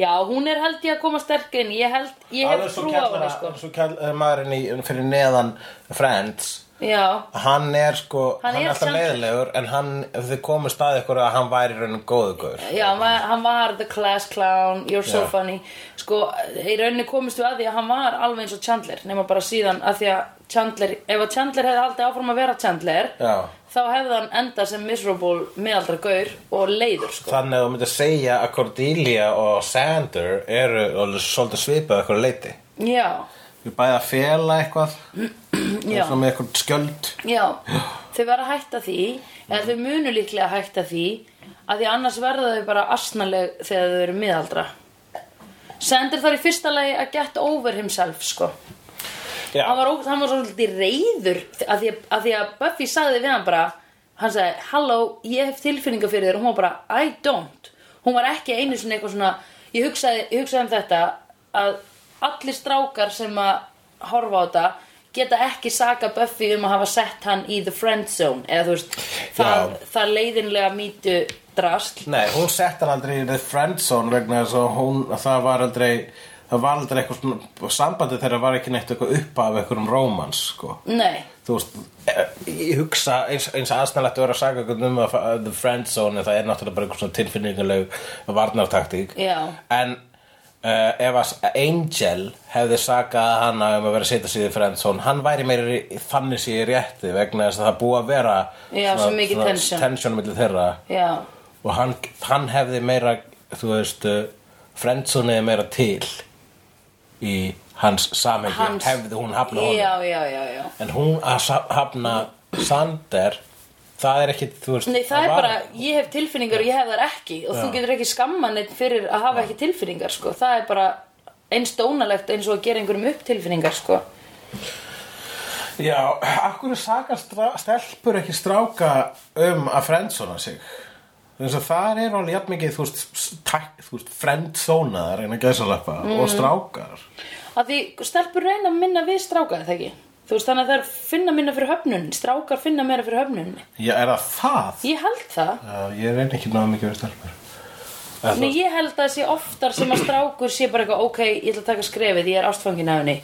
S1: Já, hún er held ég að koma sterk inn. Ég held, ég hef trú á hana, sko.
S2: Svo kall, uh, maðurinn í, fyrir neðan Friends
S1: Já,
S2: Hann er sko,
S1: Hann
S2: hann,
S1: er
S2: er alltaf
S1: sjálfkjör-
S2: leiðilegur En hann, ef þið komið staði ykkur að hann væri í raunin góðu guður
S1: já, hann var- hann var the class clown, you're so
S2: Já.
S1: funny. Sko, í rauninni komist við að því að hann var alveg eins og Chandler, nema bara síðan að því að Chandler, ef að Chandler hefði aldrei áfram að vera Chandler,
S2: Já.
S1: þá hefði hann enda sem miserable meðaldra gaur og leiður, sko.
S2: Þannig að þú myndir segja að Cordelia og Sander eru alveg svolítið svipað ykkur leiti
S1: Já,
S2: Við bæði að fela eitthvað
S1: Mm, já.
S2: Svo með eitthvað skjöld
S1: Já, þau verða að hætta því eða þau munu líklega að hætta því að því annars verða þau bara asnaleg þegar þau eru miðaldra Sendir þar í fyrsta lagi að get over himself sko
S2: Já,
S1: hann var, ó- hann var svolítið reyður að því að, að því að Buffy sagði við hann bara hann sagði, halló, ég hef tilfinninga fyrir þér og hún var bara, I don't hún var ekki einu sinni eitthvað svona ég hugsaði, ég hugsaði um þetta að allir strákar sem að horfa á þetta geta ekki saka Buffy um að hafa sett hann í the friend zone eða þú veist, það,
S2: Já.
S1: það leiðinlega mýtu drasl
S2: Nei, hún sett hann aldrei í The Friendzone vegna þess að hún, að það var aldrei það var aldrei eitthvað svona sambandi þegar var ekki neitt eitthvað upp af eitthvað um rómans sko.
S1: Nei,
S2: þú veist, eh, ég hugsa eins, eins aðsnælægt að vera að saga eitthvað um að fa- The Friendzone en það er náttúrulega bara eitthvað svona tilfinninguleg varnartaktík
S1: Já.
S2: en uh, ef að Angel hefði sagað hana um að vera að setja sig í The Friendzone hann væri meira í- þannig sé í rétti vegna þess að það búið að vera
S1: Já, svo mikið tension.
S2: tension milli þeirra
S1: já,
S2: og hann, hann hefði meira þú veist Friendzone hefði meira til í hans samhengi
S1: Hans-
S2: hefði hún hafna
S1: já,
S2: honum
S1: já, já, já
S2: en hún að sa- hafna Sander það er ekki þú veist
S1: Nei, það er
S2: var-
S1: bara, ég hef tilfinningar og ég hef þar ekki og þú getur ekki skamma neitt fyrir að hafa ekki tilfinningar, sko. Það er bara eins dónalegt eins og að gera einhverjum upp tilfinningar, sko.
S2: já, akkur saga stra- stelpur ekki stráka um að friendzona sig þess að það er alveg jafn mikið þú veist, s- tæk, þú veist friendzonaðar en að gæsalappa
S1: Mm.
S2: og strákar
S1: Að því stelpur reyna að minna við stráka, það ekki? Þú veist, þannig að það er finna minna fyrir höfnun, strákar finna meira fyrir höfnun.
S2: já, er það það?
S1: Ég held það.
S2: Já, ég reyni ekki náða mikið við stelpur Eða þú
S1: Nei, ég held að það sé oftar sem að strákur sé bara eitthvað, ok, ég ætla að taka skrefið, ég er ástfangin af henni.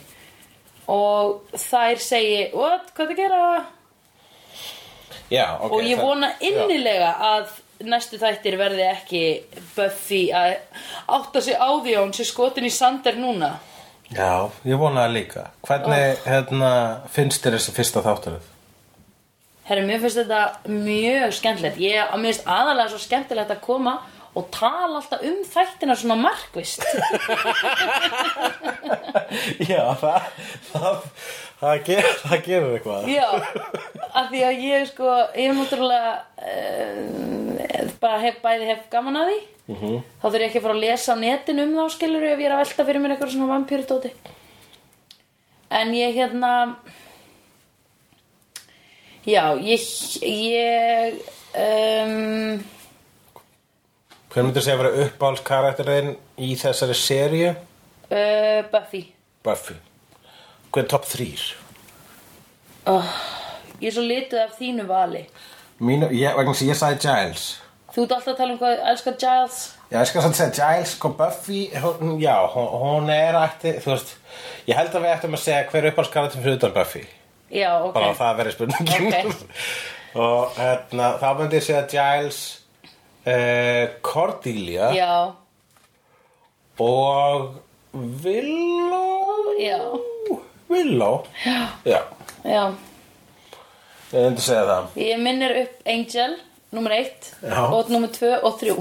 S1: Og þær segi, what, hvað það gera?
S2: Já, ok
S1: og ég
S2: það-
S1: vona innilega að næstu þættir verði ekki Buffy að átta sig á því að hún sé skotin í Sander núna
S2: Já, Já, ég vona það líka Hvernig
S1: Ah.
S2: hérna, finnst þér þessi fyrsta þátturð?
S1: Herra, mér finnst þetta mjög skemmtilegt Ég, að mér finnst aðalega svo skemmtilegt að koma og tala alltaf um þættina svona markvist
S2: Já, það það, það, ger, það gerir eitthvað
S1: Já, af því að ég sko, ég er náttúrulega uh, bara hef, bæði hef gaman að því
S2: Mhm.
S1: þá þurf ég ekki að fara að lesa á netin um þá skilur ef ég er að velta fyrir mér eitthvað svona vampýrutóti en ég hérna já, ég ég um,
S2: Hver myndir segja að vera uppáhalds karakterinn í þessari seríu?
S1: uh, Buffy
S2: Buffy Hver er topp þrýr?
S1: ég er svo lituð af þínu vali
S2: Mínu, ég, vegna sem ég sagði Giles
S1: Þú ert alltaf að tala um hvað elskar Giles
S2: Já, ég skal samt segja Giles, sko Buffy hún, Já, hún, hún er ætti Þú veist, ég held að við ættum að segja hver uppáhaldskarlatum fyrir utan Buffy
S1: Já, ok
S2: Bara að það verið spurningin
S1: Ok.
S2: Og hérna, þá myndi ég segja Giles uh, Cordelia
S1: Já,
S2: Og Willow
S1: Já.
S2: Willow Já, já
S1: já
S2: ég myndi segja það
S1: Ég minnir upp Angel, nummer eitt
S2: Já.
S1: Og nummer tvö og þrjú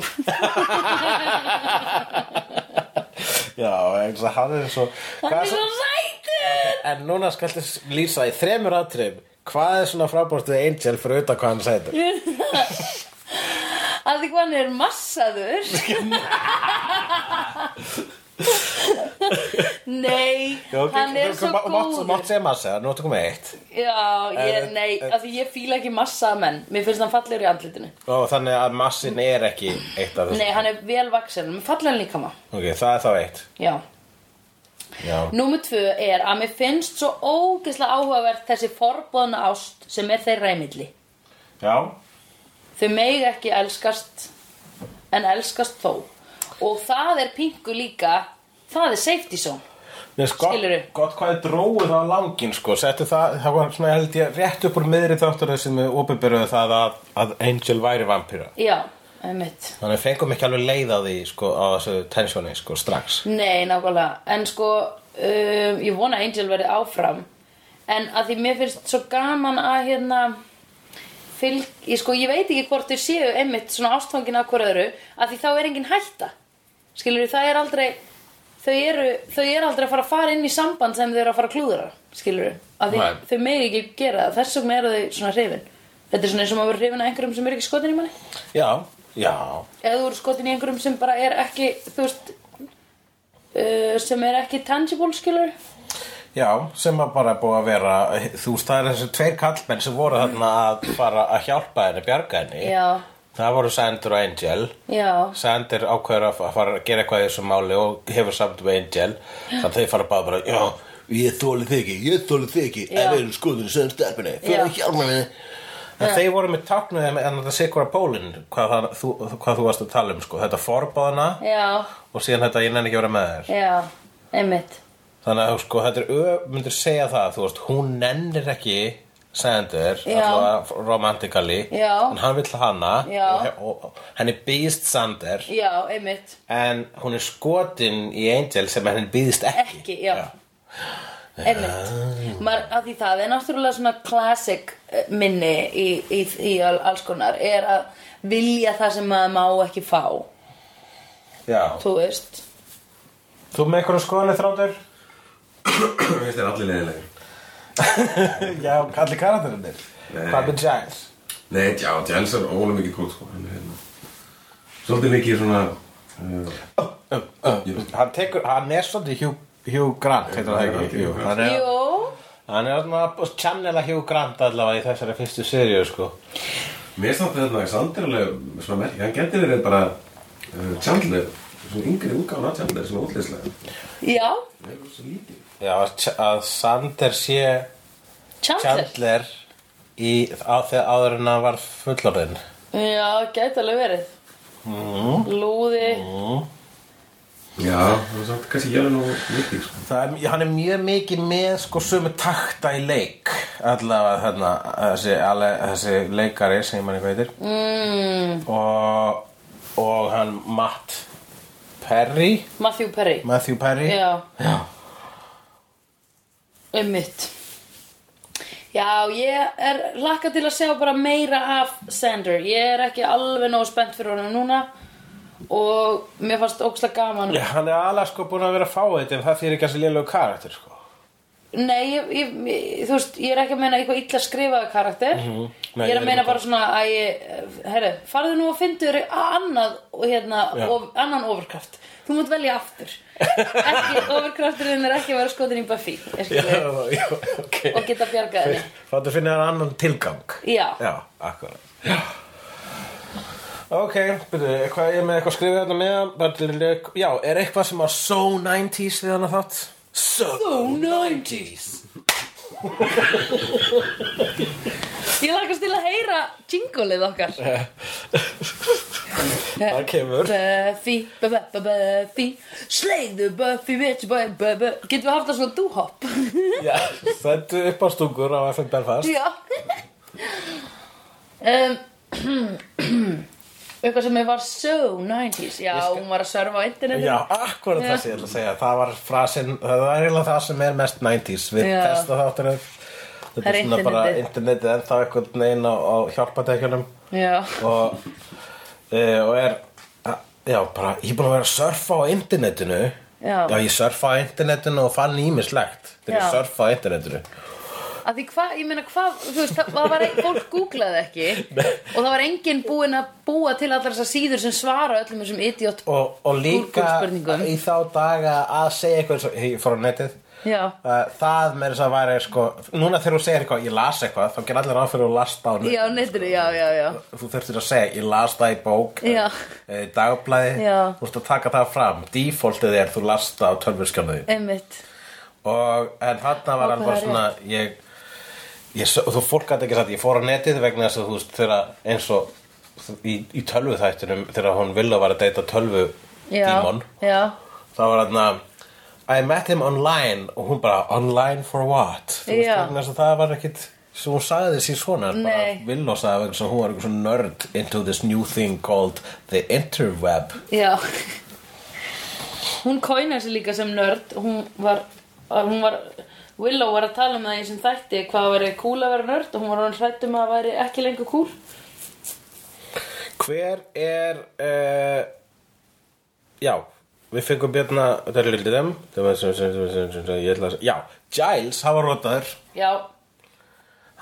S2: Já, eins og hann er svo
S1: Hann
S2: hvað
S1: er
S2: svo-
S1: svo sætur
S2: En núna skal þess lýsa í þremur atriðum Hvað er svona frábórst við Angel fyrir utan hvað hann sætur?
S1: Að því hvað hann er massaður Nei, hann er svo
S2: Mátt,
S1: góður
S2: mátt segja massa, nú ertu komið eitt
S1: Já, ég,
S2: Eh,
S1: nei,
S2: eh.
S1: af því ég fíla ekki massaða menn Mér finnst hann fallegur í andlitinu
S2: Og þannig að massin er ekki eitt af þessu
S1: Nei, hann er vel vaksin, menn fallegur líka maður
S2: Ok, það er þá eitt
S1: Já,
S2: Já,
S1: Númer tvö er að mér finnst svo ógeðslega áhugavert þessi forbóðna ást sem er þeirra í milli.
S2: já,
S1: Þau megi ekki elskast en elskast þó. Og það er pingu líka, það er safety zone.
S2: Mér finnst gott,
S1: Skilurðu?
S2: gott hvað þið dróið á langinn sko, settu það, það var svona held ég rétt upp úr miðri þáttur sem við opinberuðu það að, að Angel væri vampíra
S1: Já, einmitt.
S2: Þannig fengum ekki alveg leið á því sko, á þessu tensjóni sko, strax
S1: Nei, nákvæmlega. En sko, um, ég vona að Angel verði áfram. En að því mér finnst svo gaman að hérna fylg, ég sko, ég veit ekki hvort þau séu einmitt svona ástfangin að hvort öðru að því þá er engin hætta. Skilur, það er aldrei, þau eru, þau eru aldrei að fara að fara inn í samband sem þau eru að fara að klúðra, skilur. Að því
S2: Nei.
S1: þau megi ekki gera það, þess vegna eru þau svona hrifin. Þetta er svona eins og maður verið hrifin að einhverjum sem er ekki skotin í manni
S2: Já, já,
S1: eða þú eru skotin í einhverjum sem bara er ekki þú veist uh, sem er ekki tangible skilur
S2: Já, sem að bara er búið að vera þú veist, það er þessi tveir kallmenn sem voru þarna að fara að hjálpa henni bjarga henni
S1: já,
S2: það voru Sander og Angel
S1: já,
S2: Sander ákveður að fa- fara að gera eitthvað í þessu máli og hefur samt með Angel þannig að þau fara bara bara já, ég þóli þig ekki, ég þóli þig ekki
S1: Já.
S2: ef við erum skoðinu sem stelpunni,
S1: Já.
S2: fyrir að hjálpa henni En þeir voru með táknuðið með en það sikkura pólinn hvað, það- þú, hvað þú varst að tala um sko. þetta forbáðana
S1: já,
S2: og síðan þetta ég nenni ekki að vera með þér
S1: já einmitt,
S2: Þannig að sko, þetta er öf, myndir segja það, þú veist, hún nennir ekki Sander,
S1: Já.
S2: allavega romantikali,
S1: Já.
S2: en hann vill hana
S1: Já.
S2: og, og henni býðst Sander,
S1: já, einmitt
S2: en hún er skotin í Angel sem henni býðst ekki.
S1: ekki, já, einmitt Mar, að því það er náttúrulega svona classic eh, minni í, í, í al- alls konar er að vilja það sem maður má ekki fá
S2: Já.
S1: þú veist
S2: Þú með einhverjum skoðanir þráttur?
S3: Mér finnst þér allir leiðilegir
S2: Já, kalli karakterinir.
S3: Nei.
S2: Hvað með Giles?
S3: Nei, já, Jens er ólega mikið kúl sko. Hann er hérna Svolítið mikið svona uh,
S2: Uh, uh, hann tekur, hann er svolítið Hugh, Hugh Grant, heitir það ekki? Jú, hann er,
S1: jú,
S2: hann er svona að channela Hugh Grant allavega í þessari fyrstu seríu, sko.
S3: Mér samt að þetta Sander alveg svona merkið Hann getur verið bara uh, Chandler Svona yngri útgána Chandler Svona útleyslega
S1: já,
S3: Það er svo lítið
S2: Já, að Ch- að Sander sé
S1: Chandler
S2: Chandler í, á þegar áður en hann var fullorðin
S1: já, gæti alveg verið Mm. lúði
S3: Já, það er samt kannski jæla nú mikið sko.
S2: Það er, hann er mjög mikið með sko sömu takta í leik allavega þarna þessi, alle, þessi leikari sem mann eitthvað heitir
S1: mm,
S2: og, og hann Matt Perry
S1: Matthew Perry
S2: Matthew Perry
S1: Já,
S2: Já.
S1: ummitt Já, ég er lakka til að sjá bara meira af Sander Ég er ekki alveg nógu spennt fyrir honum núna Og mér fannst óksla gaman
S2: Já, hann er alveg sko búin að vera fáið en það fyrir ekki að lélegu karakter sko
S1: Nei, ég, ég, ég, þú veist, ég er ekki að meina eitthvað illa skrifaða karakter
S2: Mhm. Nei,
S1: Ég er
S2: ég
S1: að
S2: er
S1: meina
S2: líka.
S1: bara svona að ég, herru, farðu nú og fyndu þér annað, og hérna,
S2: Já.
S1: of, annan overkraft Þú mátt velja aftur ekki, Overkrafturinn er ekki að vera skotin í Buffy ég skil við.
S2: já, ok
S1: Og geta bjargað henni
S2: Fáttu að finna hann annan tilgang
S1: Já.
S2: Já, akkurat Já. Ok, byrju, hvað ég er með eitthvað skrifið þarna með hann? Bara til að lök- Já, er eitthvað sem var so 90s við hann að þátt? So
S1: So 90s Ég lakast til að heyra jingle Jinglið okkar
S2: Það kemur
S1: Buffy, bu- bu- bu- Buffy Slegðu Buffy, bitch boy, bu- bu- Getum við haft það svona dúhopp?
S2: Já, Þetta er upp á stungur á FM Belfast
S1: Já um, Eitthvað sem ég var so 90s Já, hún var að sörfa á internetinu
S2: Já, akkurat
S1: Já.
S2: það sem ég ætla að segja Það var frasin, það var eiginlega það sem er mest 90s Við
S1: Já.
S2: testa þáttur Þetta
S1: Það
S2: er
S1: er
S2: svona bara
S1: internetið.
S2: internetið En það er einhvern veginn á, á hjálpatekjunum
S1: Já.
S2: og, e, og er a- já, bara, ég er búin að vera að surfa á internetinu
S1: Já.
S2: ég surfa á internetinu og fann ímislegt þegar ég
S1: Já.
S2: surfa á internetinu
S1: Af því hvað, ég meina hvað, þú veist, það það var, fólk googlaði ekki og það var enginn búinn að búa til allar þessar síður sem svara öllum þessum idiot
S2: og, og líka
S1: Google-spurningum.
S2: í þá daga að segja eitthvað eins og- ég fór á netið
S1: Já,
S2: Uh, það með þess að væri sko núna þegar þú segir eitthvað, ég las eitthvað þá ger allir ráð fyrir að þú lasta á
S1: já,
S2: netinu.
S1: neittinu, já, já, já
S2: þú þurftir að segja, ég las það í bók
S1: Já.
S2: eh, í dagblæði
S1: Já.
S2: þú veist að taka það fram, defaultið er þú lasta á tölvurskjánuði
S1: Einmitt
S2: og en þarna var
S1: Ó,
S2: hann
S1: hvað
S2: bara
S1: það er
S2: svona ég, ég, s- þú fólk gæti ekki sagt ég fór á netið vegna þess að þú veist þegar eins og í, í tölvu þættunum þegar hún vilja var að deyta tölvu
S1: Já,
S2: dímon
S1: já
S2: þá var hann I met him online og hún bara online for what þú veist
S1: Já.
S2: vegna þess að það var ekkit sem hún sagði því svona bara
S1: Nei.
S2: Villó sagði vegna þess að hún var eitthvað svona nerd into this new thing called the interweb
S1: Já Hún kóinaði sig líka sem nörd Hún var, að hún var Willow var að tala um það í þessum þætti hvað það væri cool að vera nörd og hún var hann hrætt um að það væri ekki lengur cool
S2: Hver er uh, Já Við fengum björna Þetta er lildið þeim Það var sem- sem- sem- sem- sem- sem- Ég ætla að Já Giles, hann var rótaður
S1: Já,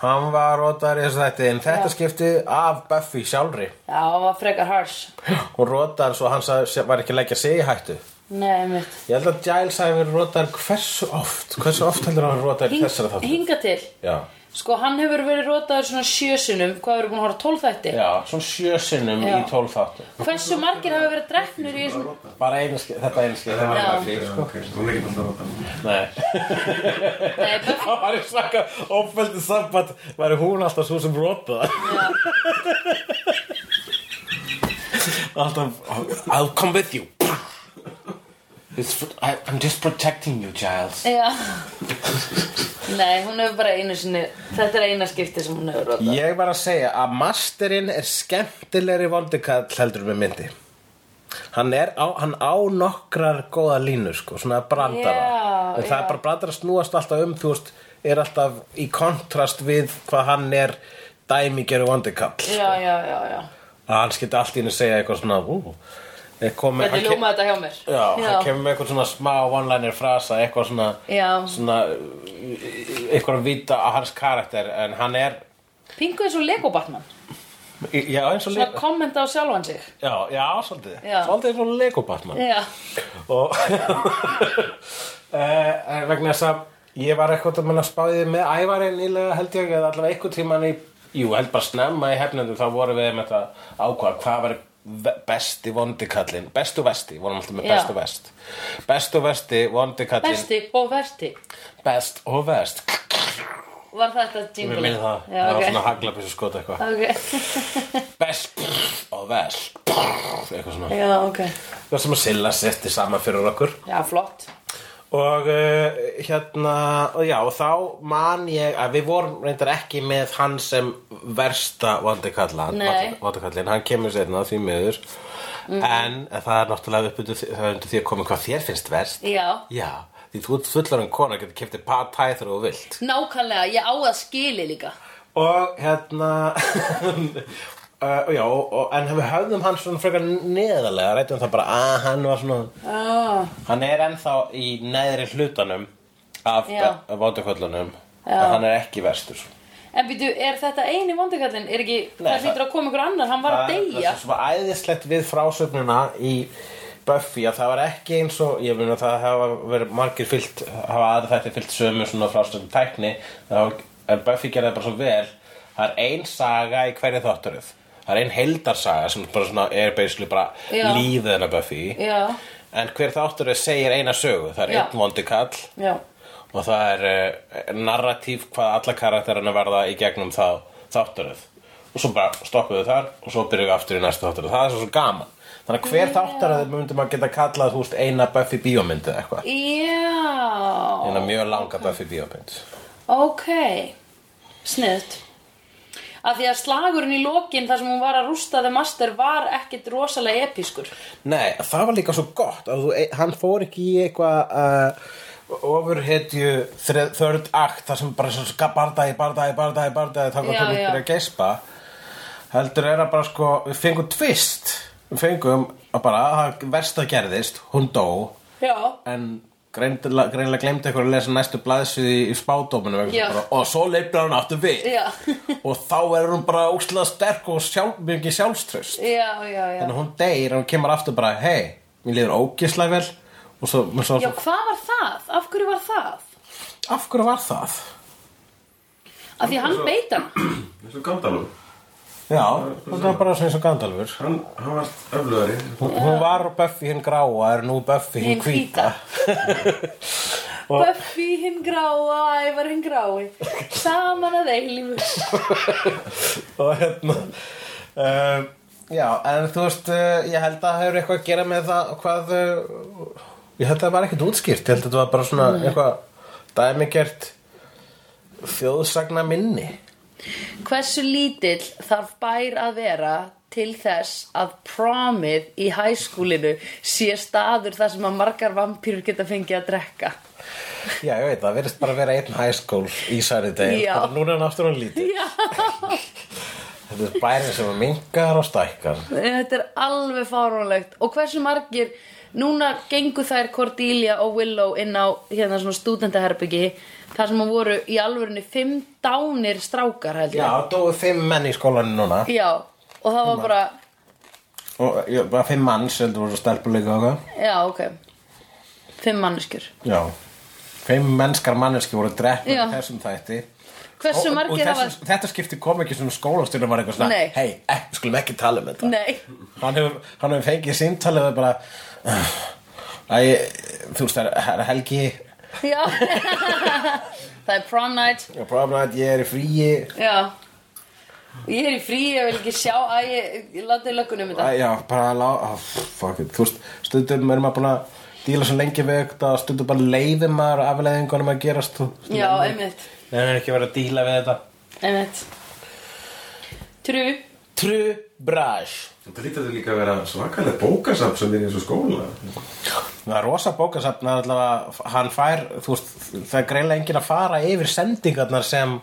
S2: Hann var rótaður í þessu þætti En þetta skipti af Buffy sjálfri
S1: já, það var frekar harsh
S2: Hún rótaður svo hann sagði, var ekki að leggja sig í hættu
S1: Nei, mitt
S2: Ég held að Giles hafi verið rótaður hversu oft Hversu oft heldur hann rótaður í
S1: Hing,
S2: þessara þáttu
S1: Hinga til
S2: Já
S1: Sko, hann hefur verið rotaður svona sjösunum Hvað hefur búin að horfa á tólf þætti
S2: Já, svona sjö sinnum
S1: Já.
S2: í tólf þáttu
S1: Hversu margir hafa verið drefnur í þessum
S2: Bara einu skeið, þetta einu skeið Það var
S1: Já.
S2: bara fyrir sko
S3: Ok, hún er ekki alltaf að það
S2: Nei
S1: Nei, Buffy
S2: Það var í svaka ofbeldi samband væri hún alltaf svo sem rotaða Alltaf I'll come with you It's, I, I'm just protecting you, Giles
S1: Já Nei, hún hefur bara einu sinni Þetta er eina skipti sem hún hefur rotað
S2: Ég var að segja að masterinn er skemmtilegri vondikall heldur með myndi Hann, er á, hann á nokkrar góða línur sko, svona brandara
S1: Já,
S2: en það
S1: já.
S2: er bara brandara snúast alltaf um þú veist, er alltaf í kontrast við hvað hann er dæmigeru vondikall
S1: Já, já, já, já
S2: að hann skildi allt í henni segja eitthvað svona ú, eh, kom með,
S1: Hvernig
S2: hann,
S1: ljóma þetta hjá mér
S2: já, hann kemur með eitthvað svona smá one-liner frasa eitthvað svona,
S1: Já.
S2: svona uh, eitthvað að vita að hans karakter en hann er
S1: Pingu eins og Lego Batman
S2: já, eins og
S1: Svona
S2: Lego
S1: kommenta á sjálfan sig
S2: já, já, svolítið,
S1: Já.
S2: svolítið eins og Lego Batman
S1: Já,
S2: og uh, vegna þess að ég var eitthvað að manna spáðið með ævari nýlega held ég eða allavega einhvern tíman í jú, held bara snemma í hefnendum þá vorum við með þetta ákvað hvað var ve- besti vondikallin besti og vesti, vorum alltaf með
S1: Já.
S2: besti og vest besti og vesti, vondikallin
S1: besti og versti
S2: best og vest
S1: Var þetta jingle?
S2: mér minni það,
S1: Já,
S2: það var svona
S1: ok
S2: haglabis og skota eitthvað
S1: Ok,
S2: best og vest eitthvað svona
S1: já, ok
S2: það sem að silla setti saman fyrir okkur
S1: Já, flott
S2: Og uh, hérna, og já, og þá man ég að við vorum reyndar ekki með hann sem versta vandakallan,
S1: Nei.
S2: vandakallin, hann kemur sérna því miður, en, en það er náttúrulega upp undir, því- það er undir því að koma hvað þér finnst verst.
S1: Já,
S2: Já, því þú ert fullar en kona, getur kefti pad thai þegar þú vilt.
S1: nákvæmlega, ég á að skili líka
S2: Og hérna, uh, já, og, og, en við höfðum hann svona frekar neðarlega, reytum það bara að hann var svona...
S1: ah.
S2: Hann er ennþá í neðri hlutanum af
S1: Já.
S2: vándaköllunum
S1: Já.
S2: en hann er ekki verstur
S1: En býtu, er þetta eini vondikallin? Er ekki,
S2: Nei,
S1: það hlýtur að koma ykkur annar, hann var að
S2: Það
S1: deyja
S2: er svo æðislegt við frásögnuna í Buffy að það var ekki eins og ég mun að það hafa verið margir fyllt hafa aðra þætti fyllt sömu svona frásögn tækni þá, en Buffy gerði bara svo vel það er ein saga í hverju þátturuð það er ein heildarsaga sem bara svona er basically bara
S1: Já.
S2: lífið hennar Buffy
S1: Já,
S2: en hver þátturuð segir eina sögu það er
S1: Já.
S2: einn vondi kall
S1: já,
S2: og eh, það er uh, narratíf hvað alla karakterina verða í gegnum þá þátturöð og svo bara stoppuðu þar og svo byrjuðu aftur í næsta þáttur og það er svo, svo gaman þannig að hver þáttar að myndum að geta kallað þú veist, eina Buffy bíómyndu eða eitthvað
S1: Já
S2: eina mjög langa Buffy bíómynd
S1: Ok Sniðt Af því að slagurinn í lokin þar sem hún var að rústa The Master var ekkit rosalega episkur
S2: Nei, það var líka svo gott að þú, e- hann fór ekki í eitthvað uh, ofurhetju þre- third act þar sem bara svo ska- bardagi, bardagi, bardagi, bardagi þá
S1: Já,
S2: hvað þú
S1: já.
S2: byrja að geispa heldur er að bara sko við fengum twist við fengum að bara það versta gerðist, hún dó
S1: Já
S2: en greinlega, greinlega glemdi eitthvað að lesa næstu blaðsvið í, í spádóminu vegna
S1: Já.
S2: þess bara, og svo leifir hann aftur við
S1: Já.
S2: og þá er hún bara úslega sterk og sjálf, mikið sjálfströst
S1: Já, já, já
S2: Þannig að hún deyr og hún kemur aftur bara Hei, mér liður ógislega vel Og svo, og svo,
S1: Já, hvað var það? Af hverju var það?
S2: af hverju var það?
S1: Af því að hann beit hana
S3: Eins og Gandalf
S2: Já, það var bara svona eins og Gandalfur
S3: Hann, hann var öflöðari
S2: Hún, hún var Buffy hinn gráa, er nú Buffy
S1: Hin
S2: hinn hvíta
S1: Buffy hinn gráa, Ævar hinn grái Saman að eilífus
S2: Og hérna uh, Já, en þú veist, uh, ég held að það hefur eitthvað að gera með það Hvað, uh, ég held að það var ekkert útskýrt Ég held að þetta var bara svona eitthvað dæmigert Þjóðsagna minni
S1: Hversu lítill þarf bær að vera til þess að promið í hæskúlinu sé staður þar sem að margar vampýrur geta fengið að drekka?
S2: Já, ég veit, það verðist bara að vera einn hæskól í særi deg
S1: Já.
S2: Núna er hann aftur hann lítið
S1: Já,
S2: Þetta er bærin sem mingar og stækkar
S1: þetta er alveg fáránlegt. Og hversu margir, núna gengu þær Cordelia og Willow inn á hérna svona stúdentaherbyggi þar sem að voru í alvörinu fimm dánir strákar held
S2: Já,
S1: ég.
S2: dóu fimm menn í skólanum núna
S1: Já, og það var bara,
S2: Og já, bara fimm mann sem þú voru stelpuleika og hvað
S1: já ok, fimm manneskjur.
S2: Já Fimm mennskar manneski voru drefnir
S1: Já.
S2: í þessum þætti
S1: Hversu
S2: Og- og
S1: margir hafa...
S2: þessum, Þetta skipti kom ekki sem skólastyrna var eitthvað svona
S1: Nei.
S2: Hei, eh, við skulum ekki tala um þetta
S1: Nei.
S2: Hann hefur, hann hefur fengið síntalið og bara Æ, þú veist, það er helgi
S1: Já Það er prom night
S2: og bara að ég er í fríi
S1: Já Ég er í frí, ég vil ekki sjá Æ, ég, ég láti löggunum um þetta
S2: Æ, já, bara að lá... Oh, fuck it, þú veist, stundum er maður búin að díla svo lengi við þetta og stundum bara leiðir maður afleðingunum að gerast og
S1: Já, einmitt
S2: Nei, það er ekki verið að díla við þetta
S1: Einmitt Trú
S2: Tru Brash
S3: Þetta lítið líka að vera svakalega bókasamt sem er í þessu skóla
S2: Það er rosa bókasafn að allavega hann fær, þú veist, það er greinlega enginn að fara yfir sendingarnar sem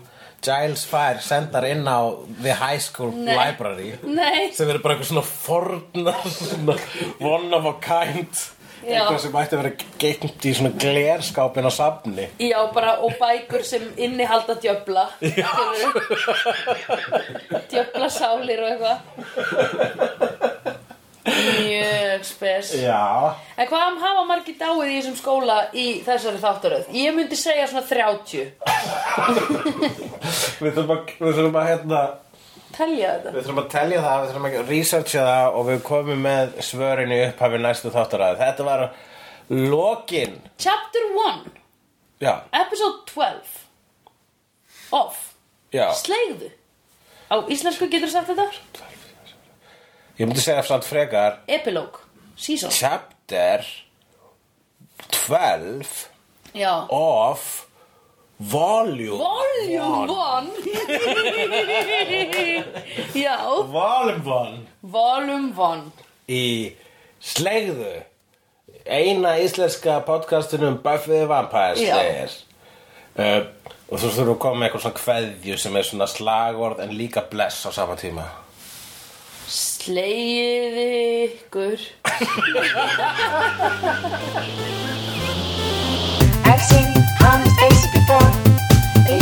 S2: Giles fær sendar inn á The High School
S1: Nei.
S2: Library
S1: Nei
S2: sem eru bara eitthvað svona fornar svona one of a kind
S1: Já.
S2: eitthvað sem ætti að vera geimt í svona glerskápin á safni
S1: Já, bara og bækur sem innihalda djöfla Djöfla sálir og eitthvað Mjög spes
S2: Já,
S1: En hvað am- hafa margir dáið í þessum skóla í þessari þáttaröð? Ég myndi segja svona 30
S2: við þurfum að, við þurfum að hérna,
S1: Telja þetta
S2: við þurfum að telja það, við þurfum að researcha það og við komum með svörin í upphafi næstu þáttaraði. Þetta var lokin,
S1: Chapter 1
S2: já,
S1: Episode 12 Off
S2: já,
S1: Sleigðu Á íslensku getur sagt þetta
S2: ég myndi segja samt frekar,
S1: Epilogue Season
S2: chapter 12
S1: Já
S2: of volume.
S1: Volume 1 Já
S2: Volume 1
S1: Volume 1
S2: í Slegðu, eina íslenska podcastinu um Buffy the Vampire
S1: Já.
S2: Slayer. Uh, og þú þurfum að koma með eitthvað svona kveðju sem er svona slagorð en líka bless á sama tíma.
S1: Slegið ykkur
S5: I've seen honest faces before. They're